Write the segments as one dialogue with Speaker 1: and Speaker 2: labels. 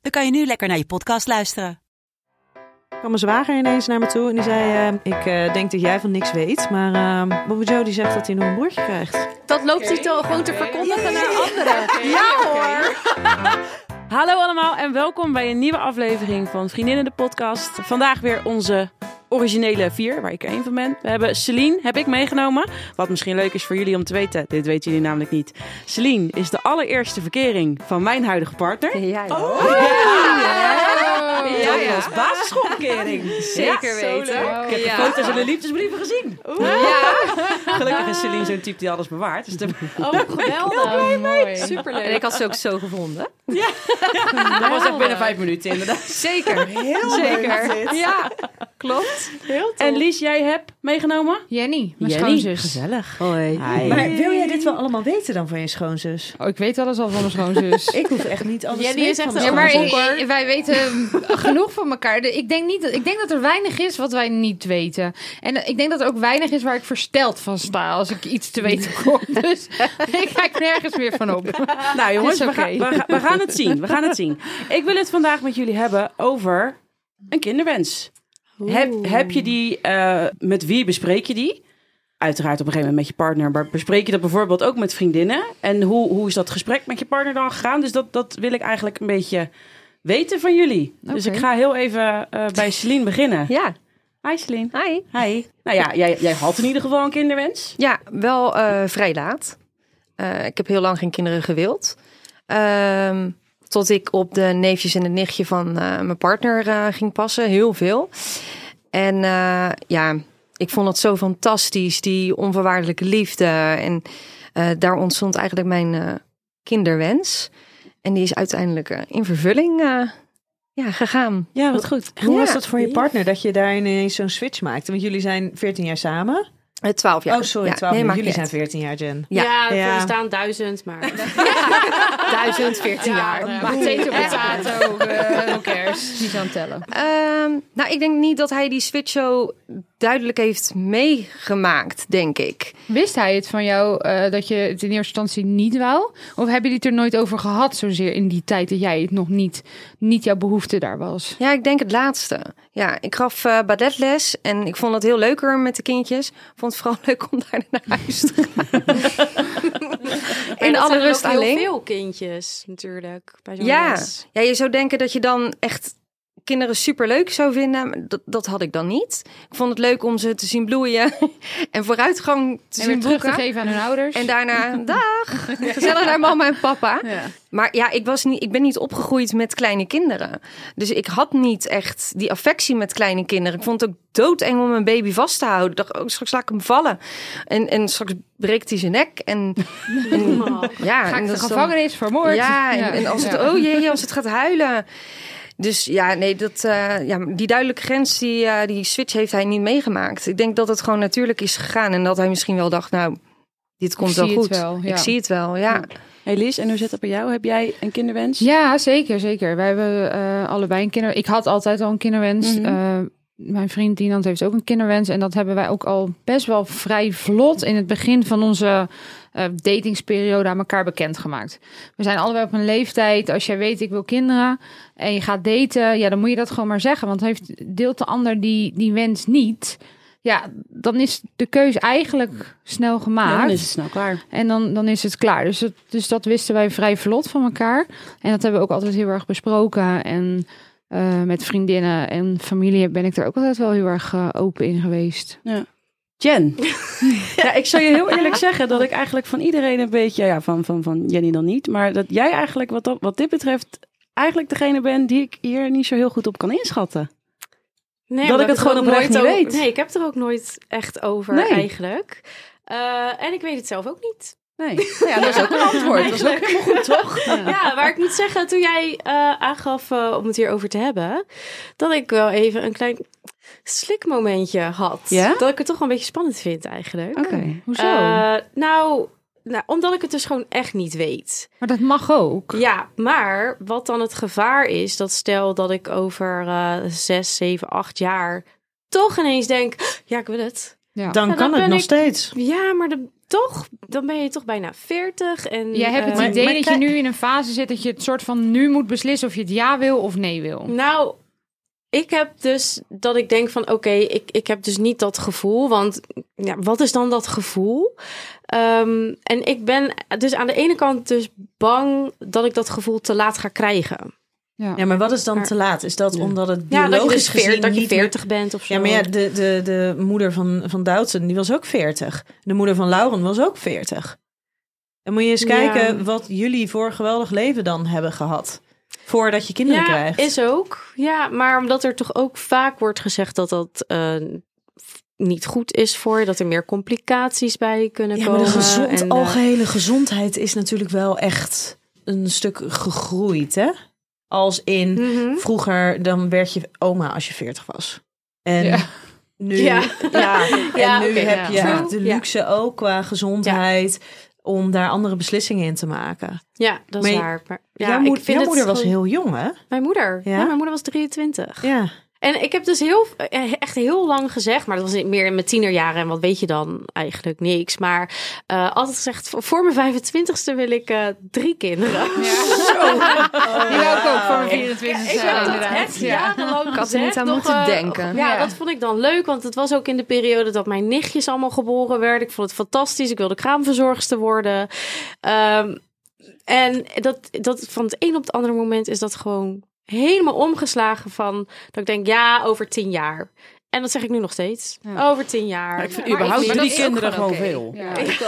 Speaker 1: dan kan je nu lekker naar je podcast luisteren.
Speaker 2: kwam mijn zwager ineens naar me toe en die zei: eh, Ik eh, denk dat jij van niks weet, maar eh Bobo Joe die zegt dat hij nog een broertje krijgt.
Speaker 3: Dat loopt hij toch gewoon te verkondigen naar anderen. Ja hoor.
Speaker 4: Hallo allemaal en welkom bij een nieuwe aflevering van Vriendinnen de Podcast. Vandaag weer onze originele vier, waar ik er één van ben. We hebben Celine, heb ik meegenomen. Wat misschien leuk is voor jullie om te weten, dit weten jullie namelijk niet. Celine is de allereerste verkering van mijn huidige partner.
Speaker 3: Ja, ja.
Speaker 4: Ja, ja. Als basisschoolverkering.
Speaker 3: Zeker weten.
Speaker 4: Ik heb
Speaker 3: Ja.
Speaker 4: de foto's en de liefdesbrieven gezien.
Speaker 3: Ja,
Speaker 4: Gelukkig is Celine zo'n type die alles bewaart. Dus de-
Speaker 5: Geweldig. Mooi. Superleuk.
Speaker 3: en ik had ze ook zo gevonden.
Speaker 4: dat was echt binnen vijf minuten inderdaad.
Speaker 3: Zeker. Zeker. Ja, klopt.
Speaker 4: En Lies, jij hebt meegenomen?
Speaker 5: Jenny, mijn
Speaker 4: Jenny,
Speaker 5: schoonzus.
Speaker 2: Gezellig.
Speaker 3: Hoi.
Speaker 2: Maar wil jij dit wel allemaal weten dan van je schoonzus?
Speaker 5: Oh, ik weet alles al van mijn schoonzus.
Speaker 2: Ik hoef echt niet alles
Speaker 5: Jenny
Speaker 2: te
Speaker 5: is
Speaker 2: weten.
Speaker 5: echt
Speaker 2: van
Speaker 5: een
Speaker 2: mijn
Speaker 5: maar
Speaker 2: schoonzus.
Speaker 5: ik- wij weten genoeg van elkaar. De- Ik denk, niet, dat- ik denk dat er weinig is wat wij niet weten. En eh, ik denk dat er ook weinig is waar ik versteld van sta als ik iets te weten kom. Dus ik kijk nergens meer van op.
Speaker 4: Nou jongens,
Speaker 5: Is
Speaker 4: we,
Speaker 5: oké.
Speaker 4: gaan, we, gaan, we gaan het zien. We gaan het zien. Ik wil het vandaag met jullie hebben over een kinderwens. Heb, heb je die, eh, met wie bespreek je die? Uiteraard op een gegeven moment met je partner, maar bespreek je dat bijvoorbeeld ook met vriendinnen? En hoe, hoe is dat gesprek met je partner dan gegaan? Dus dat, dat wil ik eigenlijk een beetje weten van jullie. Dus
Speaker 5: Oké.
Speaker 4: ik ga heel even eh, bij Celine beginnen.
Speaker 3: Ja,
Speaker 4: Hi Celine.
Speaker 3: hi.
Speaker 4: Hi. Nou ja, jij, jij had in ieder geval een kinderwens.
Speaker 3: Ja, wel eh, vrij laat. Eh, ik heb heel lang geen kinderen gewild. Ehm, tot ik op de neefjes en het nichtje van eh, mijn partner eh, ging passen. Heel veel. En eh, ja, ik vond het zo fantastisch. Die onvoorwaardelijke liefde. En eh, daar ontstond eigenlijk mijn eh, kinderwens. En die is uiteindelijk eh, in vervulling eh, ja, gegaan.
Speaker 4: Ja, wat goed.
Speaker 2: Hoe
Speaker 3: Ja.
Speaker 2: was dat voor je partner dat je daar ineens zo'n switch maakte? Want jullie zijn 14 jaar samen.
Speaker 3: Eh, 12 jaar.
Speaker 2: Oh, sorry,
Speaker 3: Ja,
Speaker 2: 12
Speaker 3: nee,
Speaker 2: jaar.
Speaker 3: maakt
Speaker 2: Jullie
Speaker 3: niet
Speaker 2: zijn 14 jaar, Jen.
Speaker 3: Ja.
Speaker 5: Ja,
Speaker 6: Ah,
Speaker 2: Ja.
Speaker 5: we staan duizend, maar...
Speaker 3: uit. 1014 jaar.
Speaker 5: Potato, potato, eh, who cares? Niet aan het tellen.
Speaker 3: Ehm, nou, ik denk niet dat hij die switch zo duidelijk heeft meegemaakt, denk ik.
Speaker 5: Wist hij het van jou eh, dat je het in eerste instantie niet wou? Of hebben jullie het er nooit over gehad zozeer in die tijd dat jij het nog niet, niet jouw behoefte daar was?
Speaker 3: Ja, ik denk het laatste. Ja, ik gaf eh balletles en ik vond het heel leuker met de kindjes. Ik vond het vooral leuk om daar naar huis te gaan. In
Speaker 6: dat
Speaker 3: alle
Speaker 6: zijn er
Speaker 3: rust
Speaker 6: ook heel
Speaker 3: alleen.
Speaker 6: veel kindjes natuurlijk bij zo'n
Speaker 3: Ja.
Speaker 6: les.
Speaker 3: Ja, je zou denken dat je dan echt kinderen superleuk zou vinden. maar Dat, dat had ik dan niet. Ik vond het leuk om ze te zien bloeien en vooruitgang te
Speaker 5: En weer
Speaker 3: zien
Speaker 5: terug te
Speaker 3: boeken.
Speaker 5: geven aan hun ouders?
Speaker 3: En daarna, dag, gezellig naar mama en papa. Maar ja, ik, was niet, ik ben niet opgegroeid met kleine kinderen. Dus ik had niet echt die affectie met kleine kinderen. Ik vond het ook doodeng om een baby vast te houden. Ik dacht, oh, straks laat ik hem vallen. En, en straks breekt hij zijn nek. En, en- ja,
Speaker 5: Ga
Speaker 3: en
Speaker 5: ik de
Speaker 3: dat is dan-
Speaker 5: gevangenis vermoord?
Speaker 3: Ja, en, en als het,
Speaker 5: Ja.
Speaker 3: oh jee, als het gaat huilen. Dus ja, nee, dat, eh, ja, die duidelijke grens, die, eh, die switch heeft hij niet meegemaakt. Ik denk dat het gewoon natuurlijk is gegaan. En dat hij misschien wel dacht, nou, dit komt wel
Speaker 5: zie het
Speaker 3: goed.
Speaker 5: wel, ja.
Speaker 3: Ik zie het wel, ja.
Speaker 4: Hey Lies, en hoe zit dat bij jou? Heb jij een kinderwens?
Speaker 5: Ja, zeker, zeker. Wij hebben eh, allebei een kinder. Ik had altijd al een kinderwens.
Speaker 4: Mhm.
Speaker 5: Eh, mijn vriend Dinant heeft ook een kinderwens. En dat hebben wij ook al best wel vrij vlot in het begin van onze eh, datingsperiode aan elkaar bekendgemaakt. We zijn allebei op een leeftijd. Als jij weet, ik wil kinderen en je gaat daten, ja, dan moet je dat gewoon maar zeggen. Want heeft, deelt de ander die, die wens niet, ja, dan is de keus eigenlijk snel gemaakt.
Speaker 4: dan is het snel klaar.
Speaker 5: En dan, dan is het klaar. Dus dat, dus dat wisten wij vrij vlot van elkaar. En dat hebben we ook altijd heel erg besproken. En eh, met vriendinnen en familie ben ik er ook altijd wel heel erg eh, open in geweest.
Speaker 4: Jen. ja, ik zou je heel eerlijk zeggen dat ik eigenlijk van iedereen een beetje, ja, van, van, van Jenny dan niet, maar dat jij eigenlijk wat, dat- wat dit betreft eigenlijk degene bent die ik hier niet zo heel goed op kan inschatten.
Speaker 6: Nee,
Speaker 4: Dat
Speaker 6: omdat
Speaker 4: ik het gewoon
Speaker 6: ook
Speaker 4: oprecht
Speaker 6: nooit
Speaker 4: niet
Speaker 6: o-
Speaker 4: weet.
Speaker 6: Nee, ik heb het er ook nooit echt over
Speaker 4: Nee.
Speaker 6: eigenlijk. Eh, en ik weet het zelf ook niet.
Speaker 4: Nee.
Speaker 3: Ja, dat is ook een antwoord. Dat is ook helemaal goed, toch?
Speaker 6: Ja, waar ik moet zeggen, toen jij eh, aangaf eh, om het hierover te hebben, dat ik wel even een klein slikmomentje had.
Speaker 4: Ja?
Speaker 6: Dat ik het toch wel een beetje spannend vind eigenlijk.
Speaker 4: Oké.
Speaker 5: Hoezo?
Speaker 6: Eh, nou, nou, omdat ik het dus gewoon echt niet weet.
Speaker 5: maar dat mag ook.
Speaker 6: Ja, maar wat dan het gevaar is, dat stel dat ik over eh zes, zeven, acht jaar toch ineens denk, ja, ik wil het.
Speaker 5: Ja.
Speaker 2: Dan
Speaker 6: Ja,
Speaker 2: kan
Speaker 6: dan
Speaker 2: het
Speaker 6: ben
Speaker 2: nog
Speaker 6: ik-
Speaker 2: steeds.
Speaker 6: Ja, maar dan toch, dan ben je toch bijna veertig. En
Speaker 5: Jij hebt het
Speaker 6: eh,
Speaker 5: idee
Speaker 2: maar
Speaker 5: dat je
Speaker 2: kijk-
Speaker 5: nu in een fase zit dat je het soort van nu moet beslissen of je het ja wil of nee wil.
Speaker 6: Nou, ik heb dus dat ik denk van oké, ik, ik heb dus niet dat gevoel. Want ja, wat is dan dat gevoel? Ehm, en ik ben dus aan de ene kant dus bang dat ik dat gevoel te laat ga krijgen.
Speaker 2: Ja, maar wat is dan
Speaker 6: Maar-
Speaker 2: te laat? Is dat omdat het
Speaker 6: Ja,
Speaker 2: biologisch
Speaker 6: dat je dus
Speaker 2: gezien
Speaker 6: veert, dat je
Speaker 2: niet meer-
Speaker 6: 40 bent of zo.
Speaker 2: Ja, maar ja, de, de, de moeder van, van Doutzen, die was ook 40. De moeder van Lauren was ook 40. Dan moet je eens
Speaker 6: Ja.
Speaker 2: kijken wat jullie voor een geweldig leven dan hebben gehad. Voordat je kinderen
Speaker 6: ja,
Speaker 2: krijgt.
Speaker 6: is ook. Ja, maar omdat er toch ook vaak wordt gezegd dat dat eh, f- niet goed is voor je, dat er meer complicaties bij kunnen
Speaker 2: Ja, maar
Speaker 6: komen.
Speaker 2: de gezond,
Speaker 6: en, eh,
Speaker 2: algehele gezondheid is natuurlijk wel echt een stuk gegroeid, hè? Als in
Speaker 6: mhm.
Speaker 2: vroeger, dan werd je oma als je 40 was. En
Speaker 5: Ja.
Speaker 2: nu,
Speaker 6: Ja.
Speaker 2: ja.
Speaker 6: Ja,
Speaker 2: en nu
Speaker 6: oké,
Speaker 2: heb je
Speaker 6: ja.
Speaker 2: echt de
Speaker 6: Ja.
Speaker 2: luxe ook qua gezondheid om daar andere beslissingen in te maken.
Speaker 6: Ja, dat is
Speaker 2: Maar-
Speaker 6: waar. Maar, ja,
Speaker 2: Ja, jouw moed-
Speaker 6: ik vind
Speaker 2: jouw
Speaker 6: het
Speaker 2: moeder was
Speaker 6: gewoon-
Speaker 2: heel jong, hè?
Speaker 6: Mijn moeder. Ja?
Speaker 2: Ja?
Speaker 6: mijn moeder was 23.
Speaker 2: Ja.
Speaker 6: En ik heb dus heel, eh, echt heel lang gezegd, maar dat was meer in mijn tienerjaren. En wat weet je dan eigenlijk? Niks. Maar eh, altijd gezegd, voor- voor mijn 25ste wil ik eh, drie kinderen.
Speaker 5: Die wou ik ook voor mijn 24
Speaker 6: Ik heb dat
Speaker 5: inderdaad.
Speaker 6: echt jarenlang
Speaker 3: Ik had er
Speaker 6: gezegd,
Speaker 3: niet aan
Speaker 6: nog,
Speaker 3: moeten
Speaker 6: eh,
Speaker 3: denken.
Speaker 6: Ja,
Speaker 5: Ja.
Speaker 6: dat vond ik dan leuk, want het was ook in de periode dat mijn nichtjes allemaal geboren werden. Ik vond het fantastisch. Ik wilde kraamverzorgster worden. Ehm, en dat, dat van het een op het andere moment is dat gewoon helemaal omgeslagen van dat ik denk, ja, over tien jaar. En dat zeg ik nu nog steeds.
Speaker 5: Ja.
Speaker 6: Over tien jaar.
Speaker 4: Maar ik vind
Speaker 5: Maar
Speaker 4: überhaupt
Speaker 5: ik- maar
Speaker 4: drie
Speaker 5: dat is ook
Speaker 4: kinderen gewoon,
Speaker 3: gewoon oké.
Speaker 4: veel.
Speaker 5: Ja.
Speaker 3: Ik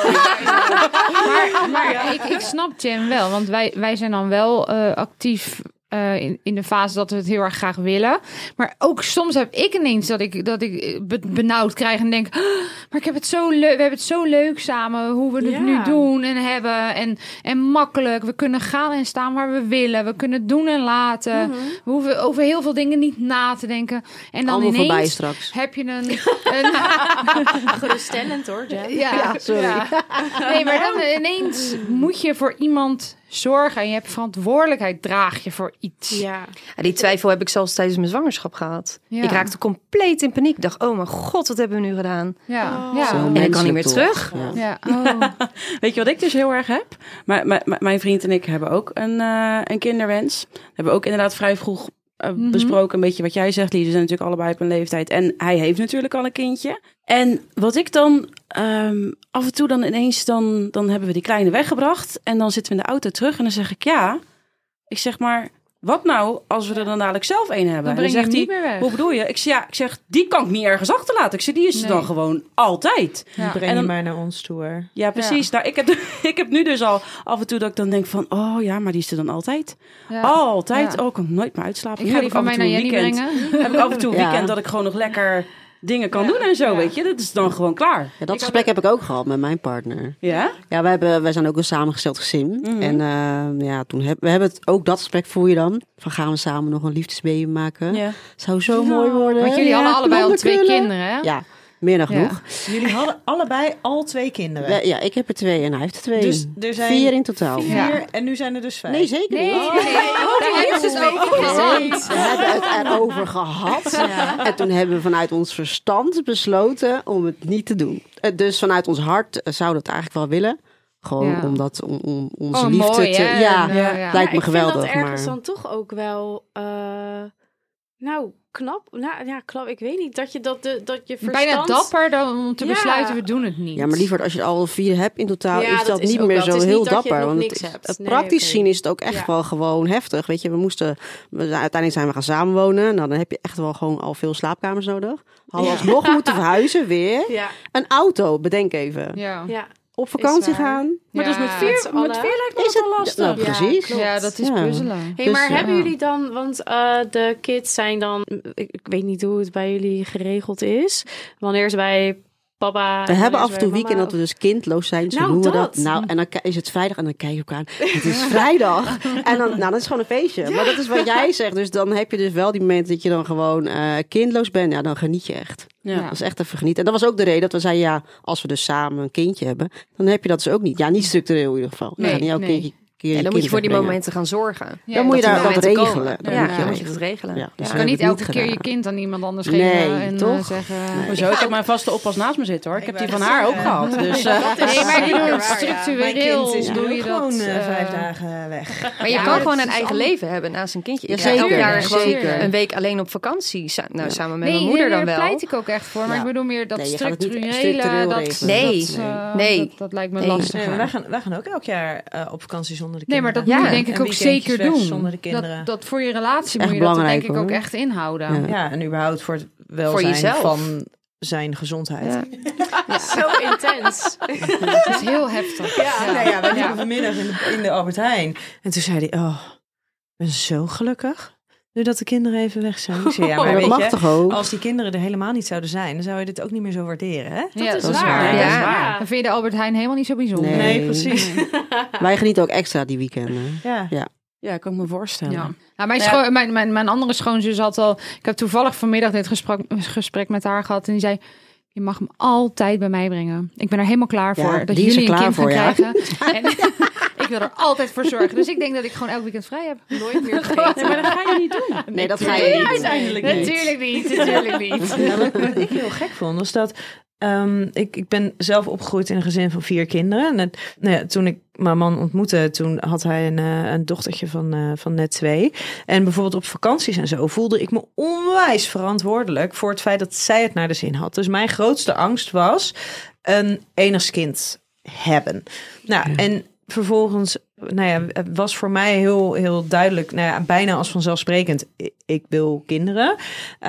Speaker 5: Maar, maar ik, ik snap Jen wel, want wij, wij zijn dan wel eh, actief eh, in, in de fase dat we het heel erg graag willen. Maar ook soms heb ik ineens dat ik, dat ik eh, be- benauwd krijg en denk... "Ah, maar ik heb het zo leuk, we hebben het zo leuk samen, hoe we het
Speaker 6: Ja.
Speaker 5: nu doen en hebben. En, en makkelijk, we kunnen gaan en staan waar we willen. We kunnen doen en laten. We hoeven over heel veel dingen niet na te denken. En dan
Speaker 4: Allemaal voorbij
Speaker 5: ineens
Speaker 4: straks.
Speaker 5: heb je een... een
Speaker 6: geruststellend hoor, Jen.
Speaker 5: ja, sorry. Nee, maar dan eh, ineens moet je voor iemand zorgen. En je hebt verantwoordelijkheid, draag je voor iets.
Speaker 6: Ja.
Speaker 3: Ja, die twijfel heb ik zelfs tijdens mijn zwangerschap gehad.
Speaker 5: Ja.
Speaker 3: Ik raakte compleet in paniek. Ik dacht, oh mijn god, wat hebben we nu gedaan?
Speaker 5: Ja.
Speaker 6: Oh.
Speaker 5: ja.
Speaker 4: Zo
Speaker 3: En ik kan niet meer
Speaker 4: menselijk
Speaker 3: terug.
Speaker 4: toch? Ja.
Speaker 5: Ja, oh.
Speaker 4: Weet je wat ik dus heel erg heb? Maar, maar, maar mijn vriend en ik hebben ook een, eh, een kinderwens. We hebben ook inderdaad vrij vroeg eh,
Speaker 5: Mhm.
Speaker 4: besproken. Een beetje wat jij zegt, Lies. We zijn natuurlijk allebei op een leeftijd. En hij heeft natuurlijk al een kindje. En wat ik dan ehm, af en toe dan ineens... Dan, dan hebben we die kleine weggebracht. En dan zitten we in de auto terug. En dan zeg ik, ja... Ik zeg maar, wat nou als we er dan dadelijk zelf een hebben?
Speaker 5: dan
Speaker 4: en dan
Speaker 5: breng je hem
Speaker 4: zegt hij,
Speaker 5: niet meer weg.
Speaker 4: hoe bedoel je? Ik zeg, ja, ik zeg, die kan ik niet ergens achterlaten. Ik zeg, die is er
Speaker 5: Nee.
Speaker 4: dan gewoon altijd.
Speaker 5: Ja.
Speaker 2: Breng
Speaker 4: En dan-
Speaker 2: je maar naar ons toe. hoor.
Speaker 4: Ja, precies. Nou, ik, heb, ik heb nu dus al af en toe dat ik dan denk van... Oh ja, maar die is er dan altijd.
Speaker 5: Ja.
Speaker 4: Altijd.
Speaker 5: Ja.
Speaker 4: Oh, ik kan nooit meer uitslapen.
Speaker 5: Ik
Speaker 4: Nu
Speaker 5: ga
Speaker 4: heb
Speaker 5: die
Speaker 4: af
Speaker 5: van mij
Speaker 4: en
Speaker 5: naar
Speaker 4: toe een
Speaker 5: Jenny
Speaker 4: weekend,
Speaker 5: brengen.
Speaker 4: Heb ik af en toe een
Speaker 7: Ja.
Speaker 4: weekend dat ik gewoon nog lekker dingen kan
Speaker 5: Ja.
Speaker 4: doen en zo,
Speaker 5: Ja.
Speaker 4: weet je. Dat is dan gewoon klaar.
Speaker 7: Ja, dat gesprek heb ik ook gehad met mijn partner.
Speaker 4: Ja?
Speaker 7: Ja, wij, hebben, wij zijn ook een samengesteld gezin.
Speaker 4: Mhm.
Speaker 7: En eh, ja, toen heb, we hebben het, ook dat gesprek voer je dan. Van gaan we samen nog een liefdesbaby maken?
Speaker 4: Ja.
Speaker 7: Zou zo mooi worden.
Speaker 5: Want jullie
Speaker 7: Ja,
Speaker 5: hadden allebei al twee
Speaker 7: wonderkullen.
Speaker 5: kinderen, hè?
Speaker 7: Ja, meer dan
Speaker 5: Ja.
Speaker 7: genoeg.
Speaker 2: Jullie hadden allebei al twee kinderen.
Speaker 7: Ja. ja, ik heb er twee en hij heeft er twee.
Speaker 2: Dus er zijn
Speaker 7: Vier in totaal.
Speaker 2: vier
Speaker 5: Ja.
Speaker 2: en nu zijn er dus vijf.
Speaker 7: Nee, zeker
Speaker 5: Nee, nee,
Speaker 7: niet.
Speaker 5: nee. Daar hebben ze het over gehad.
Speaker 7: We hebben het erover gehad. En toen hebben we vanuit ons verstand besloten om het niet te doen. Eh, Dus vanuit ons hart eh, zou dat eigenlijk wel willen. Gewoon
Speaker 5: Ja.
Speaker 7: omdat om, om onze
Speaker 5: Oh,
Speaker 7: liefde
Speaker 5: mooi,
Speaker 7: te.
Speaker 5: hè?
Speaker 7: Ja,
Speaker 5: En, eh, ja.
Speaker 6: Ah,
Speaker 7: lijkt me
Speaker 6: Nou, ik
Speaker 7: geweldig.
Speaker 6: vind dat ergens
Speaker 7: maar...
Speaker 6: dan toch ook wel... eh, nou, knap. Nou, ja, knap. Ik weet niet. Dat je dat, de, dat je verstand...
Speaker 5: Bijna dapper dan om te
Speaker 6: Ja.
Speaker 5: besluiten, we doen het niet.
Speaker 7: Ja, maar liever als je er al vier hebt in totaal,
Speaker 6: Ja,
Speaker 7: is dat,
Speaker 6: dat is
Speaker 7: niet
Speaker 6: ook
Speaker 7: meer
Speaker 6: wel.
Speaker 7: zo
Speaker 6: Het is
Speaker 7: heel
Speaker 6: niet dat je
Speaker 7: dapper.
Speaker 6: nog
Speaker 7: want
Speaker 6: niks
Speaker 7: het, is-
Speaker 6: hebt.
Speaker 7: het
Speaker 6: Nee,
Speaker 7: praktisch
Speaker 6: oké.
Speaker 7: zien is het ook echt
Speaker 6: Ja.
Speaker 7: wel gewoon heftig. Weet je, we moesten, we zijn, uiteindelijk zijn we gaan samenwonen. Nou, dan heb je echt wel gewoon al veel slaapkamers nodig. Hadden
Speaker 6: Ja.
Speaker 7: alsnog moeten verhuizen weer.
Speaker 6: Ja,
Speaker 7: Een auto, bedenk even.
Speaker 5: Ja.
Speaker 6: ja.
Speaker 7: Op vakantie
Speaker 6: Is waar.
Speaker 7: gaan.
Speaker 4: Maar dus met
Speaker 5: Ja.
Speaker 4: vier,
Speaker 6: Met z'n allen.
Speaker 4: met vier lijkt me
Speaker 7: Is
Speaker 4: dat
Speaker 7: het
Speaker 4: wel lastig.
Speaker 7: Nou,
Speaker 6: Ja,
Speaker 7: precies.
Speaker 6: klopt.
Speaker 5: Ja, dat is
Speaker 7: Ja.
Speaker 5: puzzelen.
Speaker 6: Hey,
Speaker 7: Dus,
Speaker 6: maar
Speaker 7: ja.
Speaker 6: hebben jullie dan, want eh, de kids zijn dan, ik, ik weet niet hoe het bij jullie geregeld is, wanneer ze bij papa.
Speaker 7: We
Speaker 6: en
Speaker 7: hebben
Speaker 6: dan
Speaker 7: af
Speaker 6: is
Speaker 7: en toe
Speaker 6: weer
Speaker 7: weekend
Speaker 6: mama.
Speaker 7: dat we dus kindloos zijn. Zo
Speaker 6: Nou,
Speaker 7: noemen we
Speaker 6: dat.
Speaker 7: dat. Nou, en dan ki- is het vrijdag en dan kijk je elkaar aan. Het is vrijdag. En dan, nou, dat is gewoon een feestje. Maar dat is wat jij zegt. Dus dan heb je dus wel die momenten dat je dan gewoon eh, kindloos bent. Ja, dan geniet je echt.
Speaker 4: Ja.
Speaker 7: Dat is echt even genieten. En dat was ook de reden dat we zeiden, ja, als we dus samen een kindje hebben, dan heb je dat dus ook niet. Ja, niet structureel in ieder geval.
Speaker 5: Nee,
Speaker 7: ja, niet elk
Speaker 5: nee.
Speaker 7: kindje. keer
Speaker 3: Ja,
Speaker 7: je
Speaker 3: dan moet
Speaker 7: kind
Speaker 3: je voor die
Speaker 7: wegbrengen.
Speaker 3: momenten gaan zorgen.
Speaker 5: Ja,
Speaker 7: Dan moet je
Speaker 3: die
Speaker 7: daar dat
Speaker 3: momenten komen.
Speaker 7: regelen. Dan
Speaker 3: Ja,
Speaker 7: moet je
Speaker 3: dan moet je
Speaker 7: regelen.
Speaker 3: dat regelen.
Speaker 7: Ja, dus
Speaker 5: Je kan
Speaker 7: we hebben
Speaker 5: niet
Speaker 7: het
Speaker 5: elke keer je
Speaker 7: gedaan.
Speaker 5: kind aan iemand anders
Speaker 7: Nee,
Speaker 5: geven en eh,
Speaker 7: toch?
Speaker 5: zeggen...
Speaker 4: Hoezo? Ik heb mijn vaste oppas naast me zitten hoor. Ik heb die van haar ook gehad. Dus eh,
Speaker 5: Nee, maar ik
Speaker 2: Zeker
Speaker 5: bedoel,
Speaker 2: waar, ja. Mijn
Speaker 5: structureel
Speaker 2: kind is nu
Speaker 5: doe
Speaker 2: ook
Speaker 5: je dat...
Speaker 2: gewoon eh,
Speaker 5: eh,
Speaker 2: vijf dagen weg.
Speaker 3: Maar je
Speaker 5: Ja,
Speaker 3: kan
Speaker 5: maar
Speaker 3: gewoon
Speaker 5: het
Speaker 3: een
Speaker 5: is
Speaker 3: eigen
Speaker 5: allemaal-
Speaker 3: leven hebben naast een kindje.
Speaker 7: Ja,
Speaker 3: Ik ga elk
Speaker 7: zeker.
Speaker 3: jaar gewoon
Speaker 5: Zeker.
Speaker 3: een week alleen op vakantie. Sa- Nou, samen met
Speaker 5: nee,
Speaker 3: mijn moeder
Speaker 5: nee,
Speaker 3: dan
Speaker 5: daar
Speaker 3: wel.
Speaker 5: pleit ik ook echt voor. Maar
Speaker 7: Ja.
Speaker 5: ik bedoel meer dat
Speaker 7: Nee, je gaat het niet
Speaker 5: structurele...
Speaker 7: structureel
Speaker 5: Dat,
Speaker 7: regelen.
Speaker 3: Nee.
Speaker 5: dat, eh,
Speaker 3: Nee.
Speaker 5: Dat, dat lijkt me
Speaker 3: Nee.
Speaker 5: lastig.
Speaker 2: Nee, maar wij, gaan, wij gaan ook elk jaar eh, op vakantie zonder de
Speaker 5: Nee,
Speaker 2: kinderen.
Speaker 5: maar dat
Speaker 3: Ja.
Speaker 5: moet je denk ik
Speaker 2: En
Speaker 5: ook
Speaker 2: weekendjes
Speaker 5: zeker
Speaker 2: weg
Speaker 5: doen.
Speaker 2: zonder de kinderen.
Speaker 5: Dat, dat voor je relatie moet
Speaker 7: Echt
Speaker 5: je dat er denk
Speaker 7: belangrijk,
Speaker 5: ik ook
Speaker 7: hoor.
Speaker 5: echt inhouden.
Speaker 7: Ja.
Speaker 2: Ja, en überhaupt voor het welzijn
Speaker 3: jezelf.
Speaker 2: van zijn gezondheid.
Speaker 3: Ja.
Speaker 6: Zo intens.
Speaker 5: Dat is heel heftig. Ja,
Speaker 2: Nou ja, wij liepen vanmiddag in de, in de Albert Heijn. En toen zei hij, oh, ik ben zo gelukkig nu dat de kinderen even weg zijn. Ik zei, ja, maar
Speaker 7: Maar dat
Speaker 2: weet
Speaker 7: mag
Speaker 2: je, Oh,
Speaker 7: toch ook?
Speaker 2: als die kinderen er helemaal niet zouden zijn, dan zou je dit ook niet meer zo waarderen, hè?
Speaker 5: Ja, dat
Speaker 7: is waar.
Speaker 4: Ja,
Speaker 3: Ja.
Speaker 4: dat is waar.
Speaker 5: Dan vind je de Albert Heijn helemaal niet zo bijzonder.
Speaker 7: Nee.
Speaker 2: precies.
Speaker 7: Wij genieten ook extra die weekenden.
Speaker 2: Ja.
Speaker 4: Ja, kan ik me voorstellen.
Speaker 5: Ja. Ja, mijn, scho- mijn, mijn, mijn andere schoonzus had al. Ik heb toevallig vanmiddag dit gesprek, gesprek met haar gehad. En die zei: Je mag hem altijd bij mij brengen. Ik ben er helemaal klaar
Speaker 7: Ja,
Speaker 5: voor. dat
Speaker 7: die is er
Speaker 5: jullie een
Speaker 7: klaar
Speaker 5: kind
Speaker 7: voor,
Speaker 5: gaan
Speaker 7: ja.
Speaker 5: krijgen. En ik wil er altijd voor zorgen. Dus ik denk dat ik gewoon elk weekend vrij heb.
Speaker 6: Nooit meer vergeten.
Speaker 4: Maar dat ga je niet doen.
Speaker 7: Nee, dat ga je niet doen.
Speaker 2: Uiteindelijk
Speaker 5: Natuurlijk niet. Natuurlijk niet.
Speaker 2: Wat ik heel gek vond, was dat... ehm, ik, ik ben zelf opgegroeid in een gezin van vier kinderen. En het- nou ja, toen ik mijn man ontmoette, toen had hij een, eh, een dochtertje van, eh, van net twee. En bijvoorbeeld op vakanties en zo voelde ik me onwijs verantwoordelijk... voor het feit dat zij het naar de zin had. Dus mijn grootste angst was een enigskind hebben. Nou, en vervolgens nou ja, het was voor mij heel, heel duidelijk, nou ja, bijna als vanzelfsprekend, i- ik wil kinderen. Eh,